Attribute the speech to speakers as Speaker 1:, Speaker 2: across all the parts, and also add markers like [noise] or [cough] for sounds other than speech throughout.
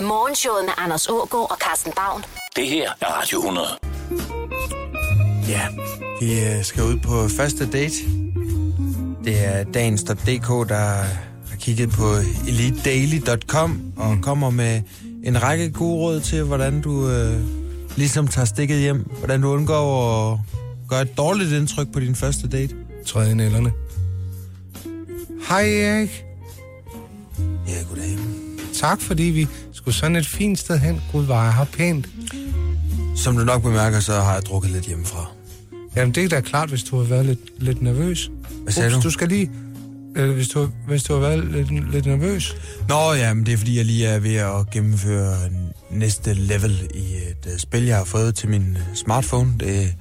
Speaker 1: Morgenshowet med Anders Ågaard og Carsten Baum.
Speaker 2: Det her er Radio 100.
Speaker 3: Ja, vi øh, skal ud på første date. Det er dagens.dk, der har kigget på elitedaily.com
Speaker 4: Mm.
Speaker 3: og kommer med en række gode råd til, hvordan du øh, ligesom tager stikket hjem, hvordan du undgår at gøre et dårligt indtryk på din første date.
Speaker 4: Træde i nælderne.
Speaker 3: Hej Erik. Ja, goddag.
Speaker 4: Tak, fordi vi skulle sådan et fint sted hen. Gud, var jeg her pænt.
Speaker 3: Som du nok bemærker, så har jeg drukket lidt hjemmefra.
Speaker 4: Jamen, det er da klart, hvis du har været lidt, lidt nervøs.
Speaker 3: Hvad sagde
Speaker 4: Ups,
Speaker 3: du?
Speaker 4: du skal lige... Øh, hvis, du, hvis du har været lidt, lidt nervøs.
Speaker 3: Nå ja, men det er fordi, jeg lige er ved at gennemføre næste level i et øh, spil, jeg har fået til min øh, smartphone. Det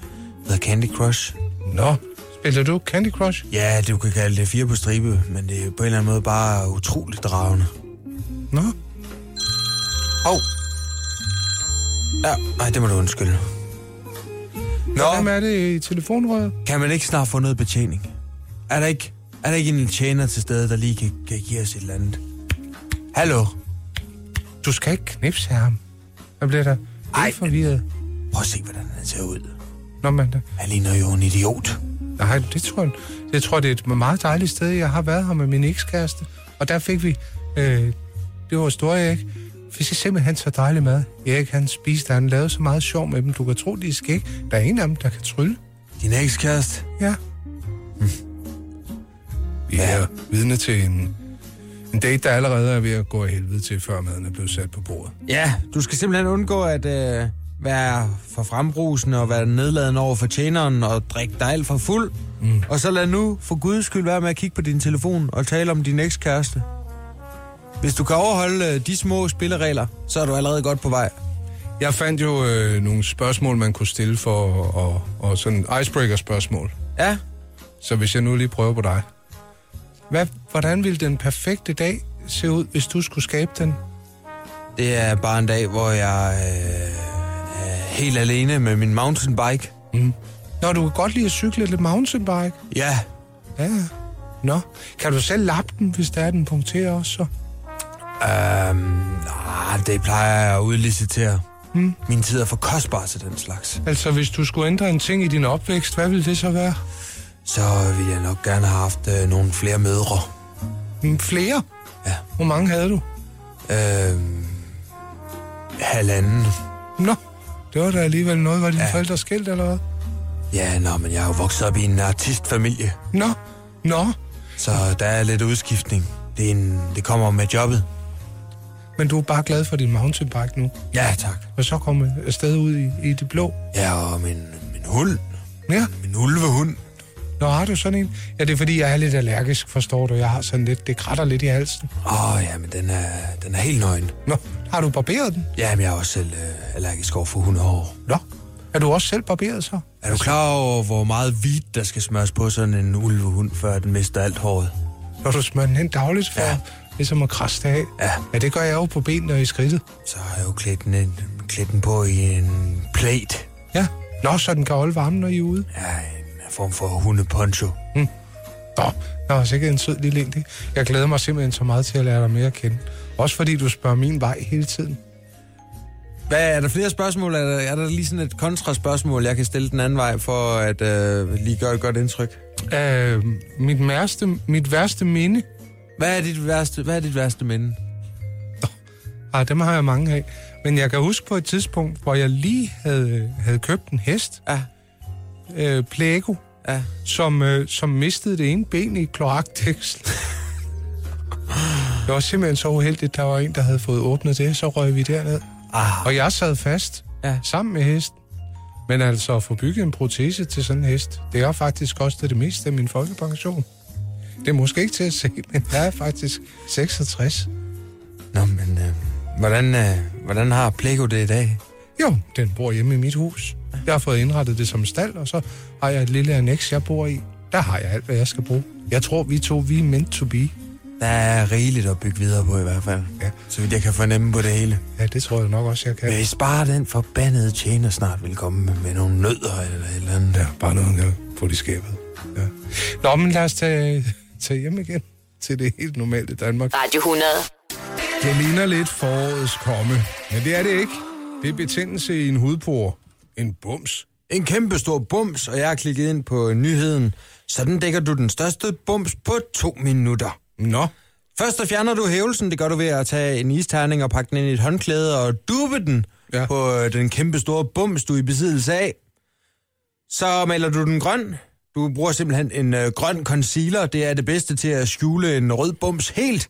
Speaker 3: hedder Candy Crush.
Speaker 4: Nå, spiller du Candy Crush?
Speaker 3: Ja, du kan kalde det fire på stribe, men det er på en eller anden måde bare utroligt dragende.
Speaker 4: Nå,
Speaker 3: Hov! Ja, nej, det må du undskylde.
Speaker 4: hvem
Speaker 3: Nå,
Speaker 4: er det i telefonrøret?
Speaker 3: kan man ikke snart få noget betjening? Er der ikke, er der ikke en tjener til stede, der lige kan, kan give os et eller andet? Hallo?
Speaker 4: Du skal ikke knipse af ham. Jeg bliver da
Speaker 3: Ej,
Speaker 4: helt forvirret.
Speaker 3: Prøv at se, hvordan han ser ud.
Speaker 4: Nå, men da.
Speaker 3: Han ligner jo en idiot.
Speaker 4: Nej, det tror jeg. Jeg tror, det er et meget dejligt sted. Jeg har været her med min ekskæreste, og der fik vi... Øh, det var store Erik. Fik jeg simpelthen så dejlig mad. Erik, han spiste, og han lavede så meget sjov med dem. Du kan tro, de er skæg. Der er en af dem, der kan trylle.
Speaker 3: Din ekskæreste?
Speaker 4: Ja. Mm. Vi er vidne til en, en date, der allerede er ved at gå af helvede til, før maden er blevet sat på bordet.
Speaker 3: Ja, du skal simpelthen undgå at øh, være for frembrusende og være nedladen over for tjeneren og drikke dig alt for fuld. Mm. Og så lad nu for guds skyld være med at kigge på din telefon og tale om din ekskæreste. Hvis du kan overholde øh, de små spilleregler, så er du allerede godt på vej.
Speaker 4: Jeg fandt jo øh, nogle spørgsmål, man kunne stille for, og, og sådan icebreaker-spørgsmål.
Speaker 3: Ja,
Speaker 4: Så hvis jeg nu lige prøver på dig. Hvad, hvordan ville den perfekte dag se ud, hvis du skulle skabe den?
Speaker 3: det er bare en dag, hvor jeg øh, er helt alene med min mountainbike.
Speaker 4: Nå, du kan godt lide at cykle lidt mountainbike.
Speaker 3: Ja,
Speaker 4: Ja, ja. Nå, kan du selv lappe den, hvis der er den punkterer også? Så?
Speaker 3: øhm, ah, det plejer jeg at udlicitere. Mm. Min tid er for kostbar til den slags.
Speaker 4: Altså, hvis du skulle ændre en ting i din opvækst, hvad ville det så være?
Speaker 3: så ville jeg nok gerne have haft øh, nogle flere mødre.
Speaker 4: Mm, Flere?
Speaker 3: Ja.
Speaker 4: Hvor mange havde du?
Speaker 3: Øh, halvanden.
Speaker 4: Nå, det var da alligevel noget. Var dine
Speaker 3: Ja.
Speaker 4: ja. forældre skilt, eller hvad?
Speaker 3: Ja, nå, men jeg er jo vokset op i en artistfamilie,
Speaker 4: Nå, nå.
Speaker 3: så der er lidt udskiftning. Det, er en, det kommer med jobbet.
Speaker 4: Men du er bare glad for din mountainbike nu.
Speaker 3: Ja, tak.
Speaker 4: Og så komme afsted ud i, i det blå.
Speaker 3: Ja, og min, min hund.
Speaker 4: Ja.
Speaker 3: Min ulvehund.
Speaker 4: Nå, har du sådan en? Ja, det er fordi, jeg er lidt allergisk, forstår du. Jeg har sådan lidt, det kratter lidt i halsen.
Speaker 3: Åh, oh, ja, men den er, den er helt nøgen.
Speaker 4: Nå, har du barberet den?
Speaker 3: Ja, men jeg er også selv øh, allergisk over for hundehår.
Speaker 4: Nå, er du også selv barberet så?
Speaker 3: Er du klar over, hvor meget hvidt, der skal smøres på sådan en ulvehund, før den mister alt håret?
Speaker 4: Når du smører den hen dagligt for,
Speaker 3: Ja.
Speaker 4: ja. ligesom at krasse det af.
Speaker 3: Ja.
Speaker 4: ja, det gør jeg jo på benene og i skridtet.
Speaker 3: Så har jeg jo klædt den, ind- klædt den på i en plate.
Speaker 4: Ja. Nå, så den kan holde varmen, når I er ude.
Speaker 3: Ja, en form for hundeponcho.
Speaker 4: Nå, der var sikkert en sød lille en, det. Jeg glæder mig simpelthen så meget til at lære dig mere at kende. Også fordi du spørger min vej hele tiden.
Speaker 3: Hvad, er der flere spørgsmål? Er der, er der lige sådan et kontraspørgsmål, jeg kan stille den anden vej for at øh, lige gøre et godt indtryk?
Speaker 4: Øh, mit, værste, mit værste minde,
Speaker 3: Hvad er dit værste, hvad er dit værste minde?
Speaker 4: ah, dem har jeg mange af, men jeg kan huske på et tidspunkt, hvor jeg lige havde, havde købt en hest,
Speaker 3: Ja,
Speaker 4: øh, Plego,
Speaker 3: ja.
Speaker 4: som, øh, som mistede det ene ben i kloakdæksel. det var simpelthen så uheldigt, der var en, der havde fået åbnet det, så røg vi derned.
Speaker 3: Ah,
Speaker 4: Og jeg sad fast
Speaker 3: Ja.
Speaker 4: ja. sammen med hesten. Men altså, at få bygget en protese til sådan en hest, det har faktisk kostet det meste af min folkepension. Det er måske ikke til at se, men jeg er faktisk 66.
Speaker 3: nå, men øh, hvordan, øh, hvordan har Plego det i dag?
Speaker 4: Jo, den bor hjemme i mit hus. Jeg har fået indrettet det som stald, og så har jeg et lille annex, jeg bor i. Der har jeg alt, hvad jeg skal bruge. Jeg tror, vi to, vi er meant to be.
Speaker 3: Der er rigeligt at bygge videre på i hvert fald.
Speaker 4: Ja.
Speaker 3: Så vidt jeg kan fornemme på det hele.
Speaker 4: Ja, det tror jeg nok også, jeg kan.
Speaker 3: Men Hvis bare den forbandede tjener snart vil komme med, med nogle nødder eller et eller andet.
Speaker 4: Ja, bare noget, jeg får i skabet. Ja. Nå, men lad os tage, tage hjem igen til det helt normale Danmark.
Speaker 1: Radio 100.
Speaker 4: Det ligner lidt forårets komme. Men det er det ikke. Det er betændelse i en hudpor. En bums.
Speaker 3: En kæmpe stor bums, og jeg har klikket ind på nyheden. Sådan dækker du den største bums på to minutter.
Speaker 4: Nå.
Speaker 3: Først så fjerner du hævelsen, det gør du ved at tage en isterning og pakke den ind i et håndklæde og dupe den
Speaker 4: Ja.
Speaker 3: ja. på øh, den kæmpe store bums, du er i besiddelse af. Så maler du den grøn. Du bruger simpelthen en øh, grøn concealer, det er det bedste til at skjule en rød bums helt.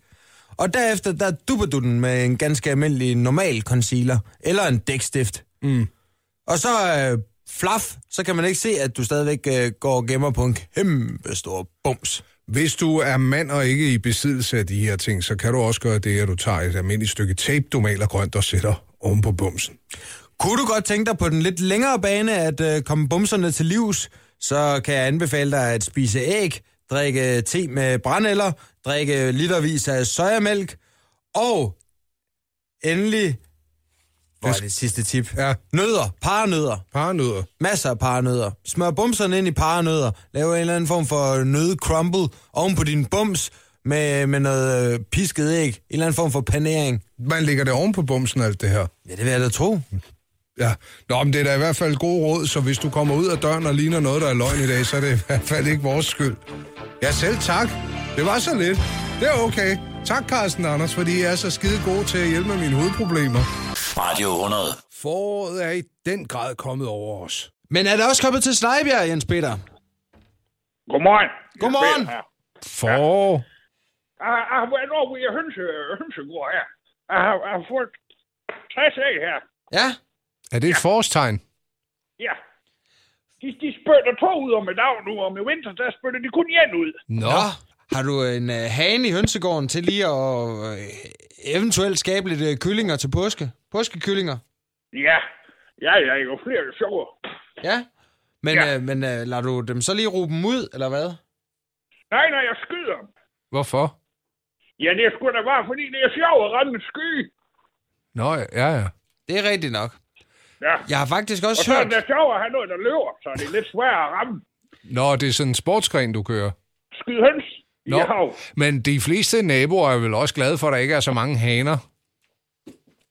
Speaker 3: Og derefter, der dupper du den med en ganske almindelig normal concealer, eller en dækstift.
Speaker 4: Mm.
Speaker 3: Og så øh, flaf, så kan man ikke se, at du stadigvæk øh, går og gemmer på en kæmpe stor bums.
Speaker 4: Hvis du er mand og ikke i besiddelse af de her ting, så kan du også gøre det, at du tager et almindeligt stykke tape, du maler grønt og sætter oven på bumsen.
Speaker 3: Kunne du godt tænke dig på den lidt længere bane at øh, komme bumserne til livs, så kan jeg anbefale dig at spise æg, drikke te med brændeller, drikke litervis af sojamælk, og endelig, hvor er det sidste tip?
Speaker 4: Ja.
Speaker 3: Nødder, paranødder,
Speaker 4: Paranødder.
Speaker 3: masser af paranødder. Smør bumserne ind i paranødder, lav en eller anden form for nødcrumble oven på din bums med, med noget øh, pisket æg, en eller anden form for panering.
Speaker 4: Man lægger det oven på bumsen, alt det her.
Speaker 3: Ja, det vil jeg da tro.
Speaker 4: Ja. Nå, men det er da i hvert fald gode råd, så hvis du kommer ud af døren og ligner noget, der er løgn i dag, så er det i hvert fald ikke vores skyld. Ja, selv tak. Det var så lidt. Det er okay. Tak, Carsten Anders, fordi I er så skide gode til at hjælpe med mine hovedproblemer.
Speaker 2: Radio 100.
Speaker 4: Foråret er i den grad kommet over os.
Speaker 3: Men er det også kommet til Snejbjerg, Jens Peter?
Speaker 5: Godmorgen.
Speaker 3: Godmorgen.
Speaker 5: Jeg er her.
Speaker 4: Forår.
Speaker 5: Jeg jeg har været over i hønse, hønsegård her. Jeg har, jeg har fået 60 æg her.
Speaker 3: Ja.
Speaker 4: Er det et forårstegn?
Speaker 5: Ja. De, de spytter to ud om i dag nu, og i vinter, der spytter de kun én ud.
Speaker 4: Nå.
Speaker 3: Nå. Har du en øh, hane i hønsegården til lige at øh, eventuelt skabe lidt øh, kyllinger til påske? Påskekyllinger?
Speaker 5: Ja. Ja, ja, jo flere, jo sjovere.
Speaker 3: Ja. Men,
Speaker 5: Ja.
Speaker 3: ja. Øh, men øh, lader du dem så lige råbe dem ud, eller hvad?
Speaker 5: Nej, nej, jeg skyder dem.
Speaker 4: Hvorfor?
Speaker 5: Ja, det er sgu da bare, fordi det er sjovt at ramme en sky.
Speaker 4: Nå, ja, ja.
Speaker 3: Det er rigtigt nok.
Speaker 5: Ja.
Speaker 3: Jeg har faktisk
Speaker 5: Og
Speaker 3: også
Speaker 5: så er
Speaker 3: hørt...
Speaker 5: det da sjovt at have noget, der løber, så det er lidt svært at ramme.
Speaker 4: Nå, det er sådan en sportsgren, du kører.
Speaker 5: Skyde høns.
Speaker 4: Nå.
Speaker 5: Ja,
Speaker 4: Men de fleste naboer er vel også glade for, at der ikke er så mange haner.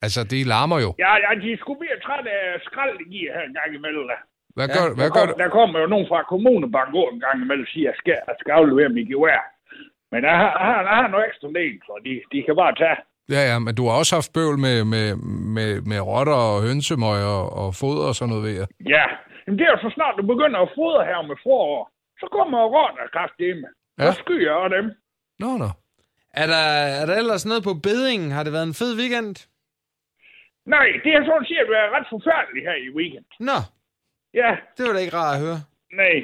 Speaker 4: Altså, de larmer jo.
Speaker 5: ja, ja, de skulle blive trætte af skrald, de giver her en gang imellem. da.
Speaker 4: Hvad
Speaker 3: Ja.
Speaker 4: gør, hvad gør du?
Speaker 5: Der kommer jo nogen fra kommunebanken over en gang imellem og siger, at jeg skal, jeg skal aflevere mit gevær. Men jeg har, jeg har, jeg har noget ekstra del, så de, de kan bare tage.
Speaker 4: Ja, ja, men du har også haft bøvl med, med, med, med rotter og hønsemøg og, og foder og sådan noget ved jer.
Speaker 5: Ja, men det er jo så snart, du begynder at fodre her med forår. Så kommer rotter kraftedeme.
Speaker 4: Ja.
Speaker 5: Ja. Og skyer og dem.
Speaker 4: Nå, nå.
Speaker 3: Er der, er der ellers noget på bedingen? Har det været en fed weekend?
Speaker 5: Nej, det har sådan set været ret forfærdeligt her i weekend.
Speaker 3: Nå,
Speaker 5: Ja,
Speaker 3: det var da ikke rart at høre.
Speaker 5: nej.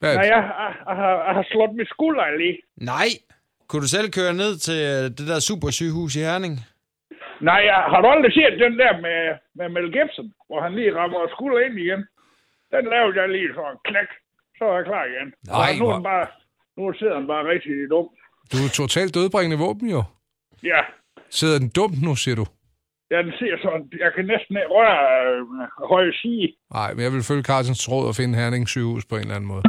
Speaker 4: Hvad,
Speaker 5: Nej, jeg, jeg, jeg, har, jeg har slået mit skulder lige.
Speaker 3: Nej. Kunne du selv køre ned til øh, det der supersygehus i Herning?
Speaker 5: Nej, jeg har du aldrig set den der med, med Mel Gibson, hvor han lige rammer skulder ind igen. Den lavede jeg lige så en klæk. Så er jeg klar igen.
Speaker 4: Nej,
Speaker 5: Og nu, er han
Speaker 4: hvor-
Speaker 5: bare, nu sidder han bare rigtig dum.
Speaker 4: Du er totalt dødbringende våben jo.
Speaker 5: Ja,
Speaker 4: Sidder den dumt nu, siger du?
Speaker 5: ja, den ser sådan. Jeg kan næsten ikke røre øh, høje sige.
Speaker 4: Nej, men jeg vil følge Carlsens råd og finde Herning sygehus på en eller anden måde.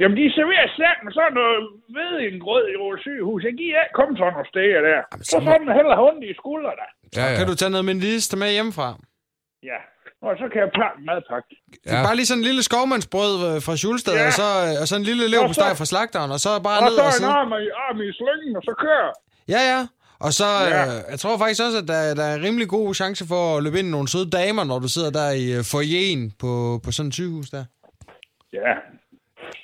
Speaker 5: Jamen, de serverer slet med sådan noget ved en grød i vores sygehus. Jeg giver ikke komme sådan nogle steder der.
Speaker 3: Jamen,
Speaker 5: Jamen,
Speaker 3: så
Speaker 5: så
Speaker 3: må-
Speaker 5: sådan heller har ondt i skuldrene.
Speaker 4: Ja, ja.
Speaker 3: Kan du tage noget med en liste med hjemmefra?
Speaker 5: Ja, og så kan jeg plakke en madpakke.
Speaker 3: Ja. Bare lige sådan en lille skovmandsbrød øh, fra Schulsted, ja.
Speaker 5: Ja.
Speaker 3: og, så, øh, og så en lille leverpostej fra slagteren, og så bare
Speaker 5: Og
Speaker 3: ned
Speaker 5: så
Speaker 3: og
Speaker 5: en
Speaker 3: sidde.
Speaker 5: arm i, arm i slyngen, og så kører.
Speaker 3: Ja, ja. Og så, ja.
Speaker 5: Ja.
Speaker 3: Øh, jeg tror faktisk også, at der, der er en rimelig god chance for at løbe ind i nogle søde damer, når du sidder der i øh, foyeren på, på sådan et sygehus der.
Speaker 5: Ja,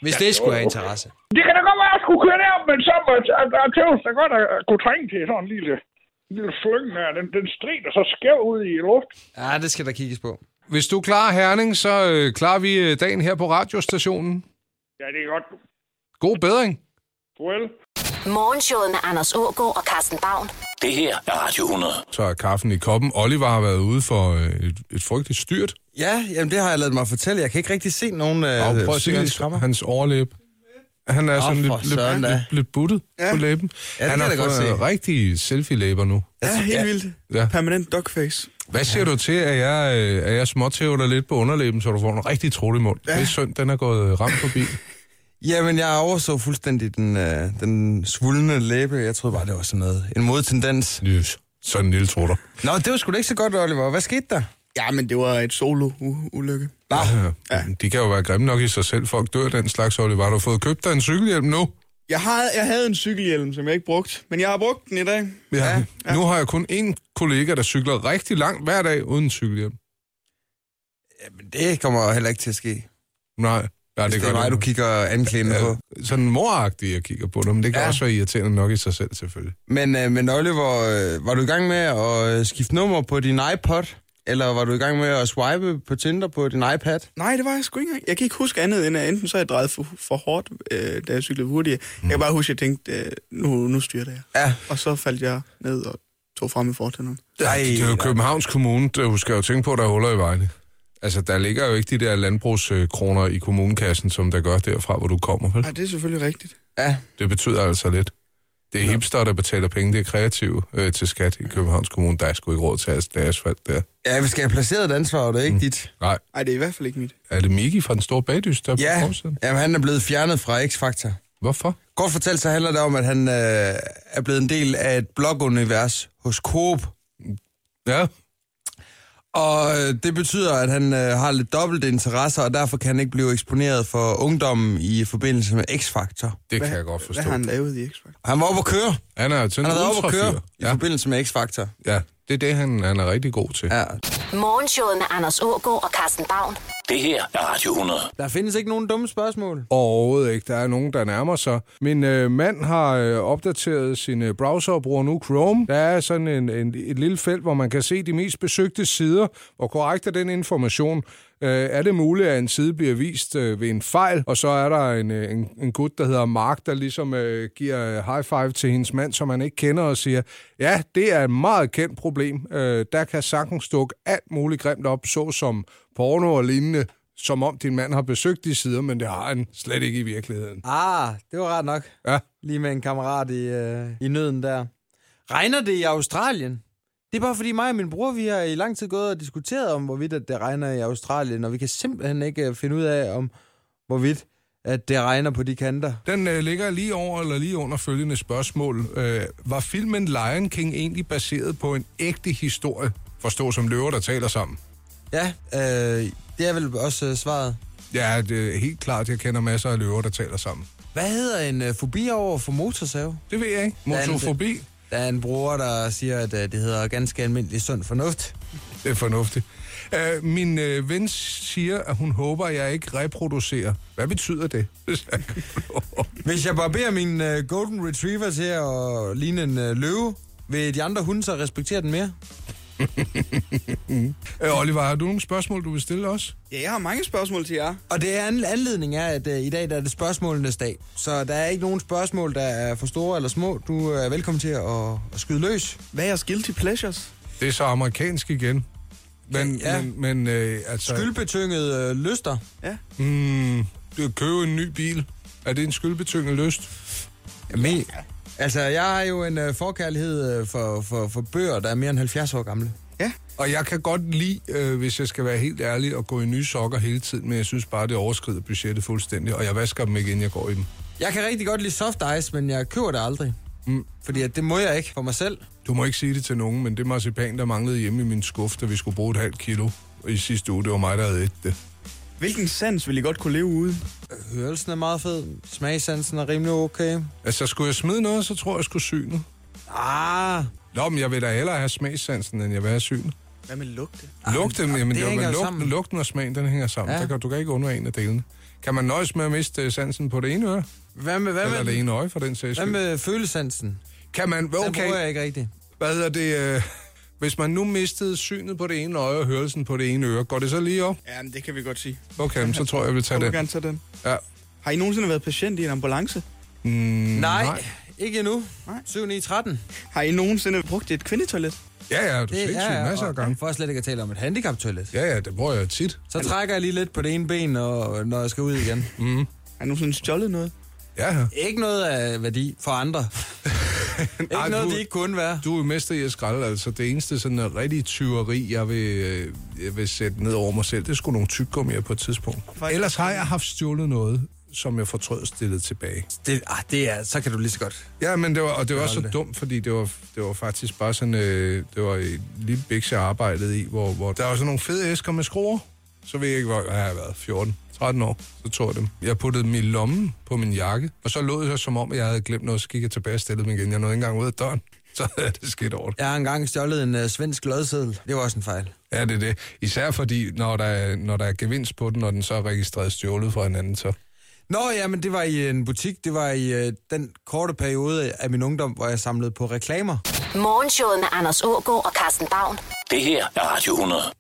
Speaker 3: Hvis ja, det skulle have interesse.
Speaker 5: Det kan da godt være, at jeg skulle køre derop, men så må at der er tøvs, der godt at kunne trænge til sådan en lille, lille slynge der. Den, den strider så skæv ud i luft.
Speaker 3: Ja, det skal der kigges på.
Speaker 4: Hvis du klarer Herning, så øh, klarer vi øh, dagen her på radiostationen.
Speaker 5: Ja, det er godt.
Speaker 4: God bedring.
Speaker 5: Well.
Speaker 1: Morgenshowet med Anders Ågaard og Carsten Baum.
Speaker 2: Det her er Radio 100.
Speaker 4: Så er kaffen i koppen. Oliver har været ude for øh, et, et frygteligt styrt.
Speaker 3: Ja, jamen det har jeg ladet mig fortælle. Jeg kan ikke rigtig se nogen øh,
Speaker 4: Og prøv at se hans, hans overlæb. Han er sådan
Speaker 3: for
Speaker 4: lidt,
Speaker 3: søren
Speaker 4: lidt,
Speaker 3: da.
Speaker 4: lidt, lidt buttet ja. på læben.
Speaker 6: Ja, det
Speaker 4: han
Speaker 6: kan
Speaker 4: har
Speaker 6: jeg da godt
Speaker 4: fået
Speaker 6: se.
Speaker 4: rigtige selfie-læber nu.
Speaker 6: Ja, helt ja. vildt.
Speaker 4: Ja.
Speaker 6: Ja. Permanent duckface.
Speaker 4: Hvad siger du til, at jeg, øh,
Speaker 6: [laughs]
Speaker 4: at jeg småtæver dig lidt på underlæben, så du får en rigtig trolig mund? Ja. Det er synd, den er gået øh, ramt forbi.
Speaker 3: Jamen, jeg overså fuldstændig den, øh, den svulne læbe. Jeg troede bare, det var sådan noget. En modtendens.
Speaker 4: Yes. Sådan en lille trutter.
Speaker 3: Nå, det var sgu da ikke så godt, Oliver. Hvad skete der?
Speaker 6: Ja, men det var et solo-ulykke.
Speaker 4: Ja. De kan jo være grimme nok i sig selv. Folk dør af den slags, Oliver. Har du fået købt dig en cykelhjelm nu?
Speaker 6: Jeg havde, jeg havde en cykelhjelm, som jeg ikke brugte, men jeg har brugt den i dag.
Speaker 4: Ja. ja. Nu har jeg kun én kollega, der cykler rigtig langt hver dag uden cykelhjelm.
Speaker 3: Jamen, det kommer heller ikke til at ske.
Speaker 4: Nej, ja,
Speaker 3: Det,
Speaker 4: det,
Speaker 3: det
Speaker 4: gør
Speaker 3: er mig,
Speaker 4: det.
Speaker 3: du kigger anklædende ja. på.
Speaker 4: Sådan moragtigt, jeg kigger på det, men det kan
Speaker 3: Ja.
Speaker 4: ja. også være irriterende nok i sig selv, selvfølgelig.
Speaker 3: Men, øh, men Oliver, øh, var du i gang med at øh, skifte nummer på din iPod? Eller var du i gang med at swipe på Tinder på din iPad?
Speaker 6: Nej, det var jeg sgu ikke engang. Jeg kan ikke huske andet, end at enten så har jeg drejet for, for hårdt, øh, da jeg cyklede hurtigt. Jeg
Speaker 4: Mm.
Speaker 6: kan bare huske, at jeg tænkte, øh, nu, nu styrter jeg.
Speaker 3: Ja.
Speaker 6: Og så faldt jeg ned og tog frem i fortænderne.
Speaker 3: Ej,
Speaker 4: Det er jo Københavns Kommune, du skal jo tænke på, at der er huller i vejene. Altså, der ligger jo ikke de der landbrugskroner i kommunekassen, som der gør derfra, hvor du kommer. Vel?
Speaker 6: Nej, det er selvfølgelig rigtigt.
Speaker 3: ja.
Speaker 4: Det betyder altså lidt. Det er hipster, der betaler penge. Det er kreativ øh, til skat i Københavns Kommune. Der er sgu ikke råd til as- det er asfalt der.
Speaker 3: Ja, vi skal have placeret et ansvar, og det er ikke mm. dit.
Speaker 4: Nej,
Speaker 6: Nej, det er i hvert fald ikke mit.
Speaker 4: er det Miki fra Den Store Bagdys, der er på
Speaker 3: Ja,
Speaker 4: forsiden?
Speaker 3: jamen, han er blevet fjernet fra X-Factor.
Speaker 4: Hvorfor?
Speaker 3: Kort fortalt, så handler det om, at han øh, er blevet en del af et blogunivers hos Coop.
Speaker 4: Ja,
Speaker 3: Og øh, det betyder, at han øh, har lidt dobbelt interesser, og derfor kan han ikke blive eksponeret for ungdommen i forbindelse med X-Factor.
Speaker 4: det kan jeg godt forstå.
Speaker 6: Hvad har han lavet i X-Factor?
Speaker 3: Og Han var oppe at køre.
Speaker 4: Han er jo sådan
Speaker 3: Han
Speaker 4: en
Speaker 3: har været oppe at
Speaker 4: ultrafyr.
Speaker 3: køre i
Speaker 4: Ja,
Speaker 3: forbindelse med X-Factor.
Speaker 4: ja, det er det, han, han er rigtig god til.
Speaker 3: Ja.
Speaker 1: Morgenshowet med Anders Ågaard og Carsten Baum.
Speaker 2: Det her er Radio 100.
Speaker 3: Der findes ikke nogen dumme spørgsmål.
Speaker 4: Overhovedet ikke. Der er nogen, der nærmer sig. Min øh, mand har øh, opdateret sin øh, browser og bruger nu Chrome. Der er sådan en, en, et lille felt, hvor man kan se de mest besøgte sider, hvor korrekt er den information. Øh, er det muligt, at en side bliver vist øh, ved en fejl? Og så er der en, øh, en, en gut, der hedder Mark, der ligesom øh, giver øh, high five til hendes mand, som han ikke kender, og siger, ja, det er et meget kendt problem. Øh, der kan sagtens dukke alt muligt grimt op, såsom porno og lignende som om din mand har besøgt de sider, men det har han slet ikke i virkeligheden.
Speaker 3: Ah, det var rart nok.
Speaker 4: Ja.
Speaker 3: Lige med en kammerat i, øh, i nøden der. Regner det i Australien? Det er bare fordi mig og min bror, vi har i lang tid gået og diskuteret om, hvorvidt at det regner i Australien, og vi kan simpelthen ikke øh, finde ud af, om hvorvidt at det regner på de kanter.
Speaker 4: Den øh, ligger lige over eller lige under følgende spørgsmål. Øh, var filmen Lion King egentlig baseret på en ægte historie? Forstå som løver, der taler sammen.
Speaker 3: Ja, øh, det er vel også øh, svaret.
Speaker 4: Ja, det er helt klart, jeg kender masser af løver, der taler sammen.
Speaker 3: Hvad hedder en øh, fobi over for motorsave?
Speaker 4: Det ved jeg ikke.
Speaker 3: er det.
Speaker 4: Motofobi,
Speaker 3: Der er en bruger, der siger, at øh, det hedder ganske almindelig sund fornuft.
Speaker 4: det er fornuftigt. Øh, min øh, ven siger, at hun håber, at jeg ikke reproducerer. Hvad betyder det? [laughs] Hvis jeg ikke får lov?
Speaker 3: Hvis jeg barberer min øh, golden retriever til at ligne en øh, løve, vil de andre hunde så respektere den mere?
Speaker 4: øh, Oliver, har du nogle spørgsmål, du vil stille os?
Speaker 6: Ja, jeg har mange spørgsmål til jer.
Speaker 3: Og det er en anledning er, at øh, i dag der er det spørgsmålenes dag. Så der er ikke nogen spørgsmål, der er for store eller små. Du øh, er velkommen til at, at skyde løs.
Speaker 6: Hvad er jeres guilty pleasures?
Speaker 4: Det er så amerikansk igen. Men,
Speaker 3: Ja.
Speaker 4: ja. men, men øh, altså...
Speaker 3: Skyldbetyngede øh, lyster.
Speaker 6: Ja.
Speaker 4: Mm, du købe en ny bil. Er det en skyldbetynget lyst?
Speaker 3: Me. Altså, jeg har jo en øh, forkærlighed øh, for, for, for bøger, der er mere end 70 år gamle.
Speaker 6: Ja.
Speaker 4: Og jeg kan godt lide, øh, hvis jeg skal være helt ærlig, at gå i nye sokker hele tiden, men jeg synes bare, det overskrider budgettet fuldstændig, og jeg vasker dem ikke, inden jeg går i dem.
Speaker 3: Jeg kan rigtig godt lide soft ice, men jeg køber det aldrig. Mm. Fordi at det må jeg ikke for mig selv.
Speaker 4: Du må ikke sige det til nogen, men det marcipan, der manglede hjemme i min skuff, da vi skulle bruge et halvt kilo i sidste uge, det var mig, der havde et det.
Speaker 6: Hvilken sans vil I godt kunne leve uden?
Speaker 3: Hørelsen er meget fed. Smagsansen er rimelig okay.
Speaker 4: Altså, skulle jeg smide noget, så tror jeg, jeg skulle synet.
Speaker 3: Ah,
Speaker 4: Nå, men jeg vil da hellere have smagssansen, end jeg vil have synet.
Speaker 6: Hvad med lugte?
Speaker 4: Lugten, jamen, det, det
Speaker 3: hænger
Speaker 4: men
Speaker 3: jo
Speaker 4: lugten,
Speaker 3: sammen.
Speaker 4: lugten og smagen, den hænger sammen.
Speaker 3: Ja.
Speaker 4: Ja. Der kan, du kan ikke undvære en af delene. Kan man nøjes med at miste øh, sansen på det ene øre?
Speaker 3: hvad med, hvad
Speaker 4: Eller
Speaker 3: med,
Speaker 4: det ene øje, for den sags
Speaker 3: hvad
Speaker 4: skyld?
Speaker 3: med følesansen?
Speaker 4: Kan man,
Speaker 3: Den bruger
Speaker 4: okay, Mm,
Speaker 3: jeg ikke rigtigt.
Speaker 4: hvad hedder det, øh, hvis man nu mistede synet på det ene øje og hørelsen på det ene øre, går det så lige op?
Speaker 6: Ja, men det kan vi godt sige.
Speaker 4: Okay, men så tror jeg, jeg vil tage
Speaker 6: Jeg vil
Speaker 4: den.
Speaker 6: gerne tage den.
Speaker 4: Ja.
Speaker 6: Har I nogensinde været patient i en ambulance?
Speaker 4: Mm,
Speaker 3: Nej,
Speaker 4: nej.
Speaker 3: ikke endnu.
Speaker 6: Nej.
Speaker 3: 7, 9, 13. Det
Speaker 6: Har I nogensinde brugt et kvindetoilet?
Speaker 4: Ja, ja, du det er masser af
Speaker 3: og-
Speaker 4: gange.
Speaker 3: For slet ikke at tale om et handicaptoilet.
Speaker 4: Ja, ja, det bruger jeg tit.
Speaker 3: Så trækker jeg lige lidt på det ene ben, og, når jeg skal ud igen.
Speaker 6: Har I nogensinde stjålet noget?
Speaker 4: Ja, ja.
Speaker 3: ikke noget af værdi for andre. ikke
Speaker 4: Ej,
Speaker 3: noget,
Speaker 4: du-
Speaker 3: de ikke kunne være.
Speaker 4: Du er jo mester i at skralde, altså. Det eneste sådan øh, rigtige tyveri, jeg vil, øh, jeg vil sætte ned over mig selv, det skulle nogle tyggegummier på et tidspunkt. Ellers har jeg haft stjålet noget, som jeg fortrød stillet tilbage.
Speaker 3: Det, ah, det er, så kan du lige så godt.
Speaker 4: Ja, men det var, og det var også så
Speaker 3: Hold da.
Speaker 4: dumt, fordi det var, det var faktisk bare sådan, øh, det var et lille biks, jeg arbejdede i, hvor, hvor der var sådan nogle fede æsker med skruer. Så ved jeg ikke, hvor hvad har jeg været, 14, 13 år, så tog jeg dem. Jeg puttede dem i lommen på min jakke, og så lød jeg som om, jeg havde glemt noget, så gik jeg tilbage og stillede dem igen. Jeg nåede ikke engang ud af døren, [laughs] så havde det skidt over det.
Speaker 3: Jeg har engang stjålet en uh, svensk lodseddel. Det var også en fejl.
Speaker 4: Ja, det er det. Især fordi, når der, er, når der er gevinst på den, og den så er registreret stjålet fra hinanden, så...
Speaker 3: Nå ja, men det var i en butik. Det var i uh, den korte periode af min ungdom, hvor jeg samlede på reklamer.
Speaker 1: Morgenshowet med Anders Ågaard og Carsten Baum.
Speaker 2: Det her er Radio 100.